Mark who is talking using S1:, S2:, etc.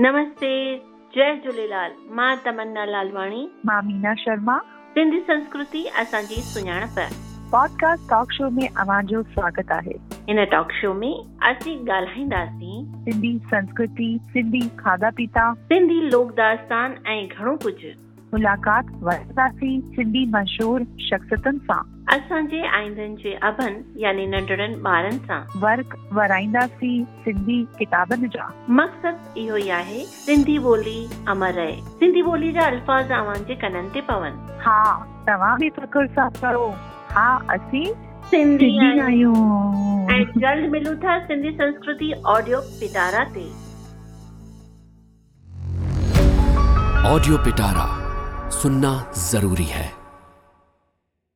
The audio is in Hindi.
S1: नमस्ते जय झूलेलाल मां तमन्ना लालवाणी
S2: मां मीना शर्मा
S1: सिंधी संस्कृति असांजी सुञाणप
S2: पॉडकास्ट टॉक शो में अवां जो स्वागत आहे
S1: हिन टॉक शो में असीं ॻाल्हाईंदासीं
S2: सिंधी संस्कृति सिंधी खाधा पीता
S1: सिंधी लोक दास्तान ऐं घणो कुझु
S2: मुलाकात वरतासीं सिंधी मशहूर शख्सियतुनि सां
S1: असांजे आईंदनि जे अभन यानी नंढड़नि ॿारनि सां
S2: वर्क वराईंदासीं सिंधी किताबनि जा
S1: मक़सदु इहो ई आहे सिंधी ॿोली अमर रहे सिंधी ॿोली जा अल्फाज़ अवां जे कननि ते पवनि
S2: हा तव्हां बि फ़िकुर सां करो हा असीं
S1: सिंधी
S2: सिंधी
S1: आहियूं। ऐं
S2: आहियूं
S1: जल्द मिलूं था सिंधी संस्कृति ऑडियो पिटारा ते
S3: ऑडियो पिटारा सुनना जरूरी है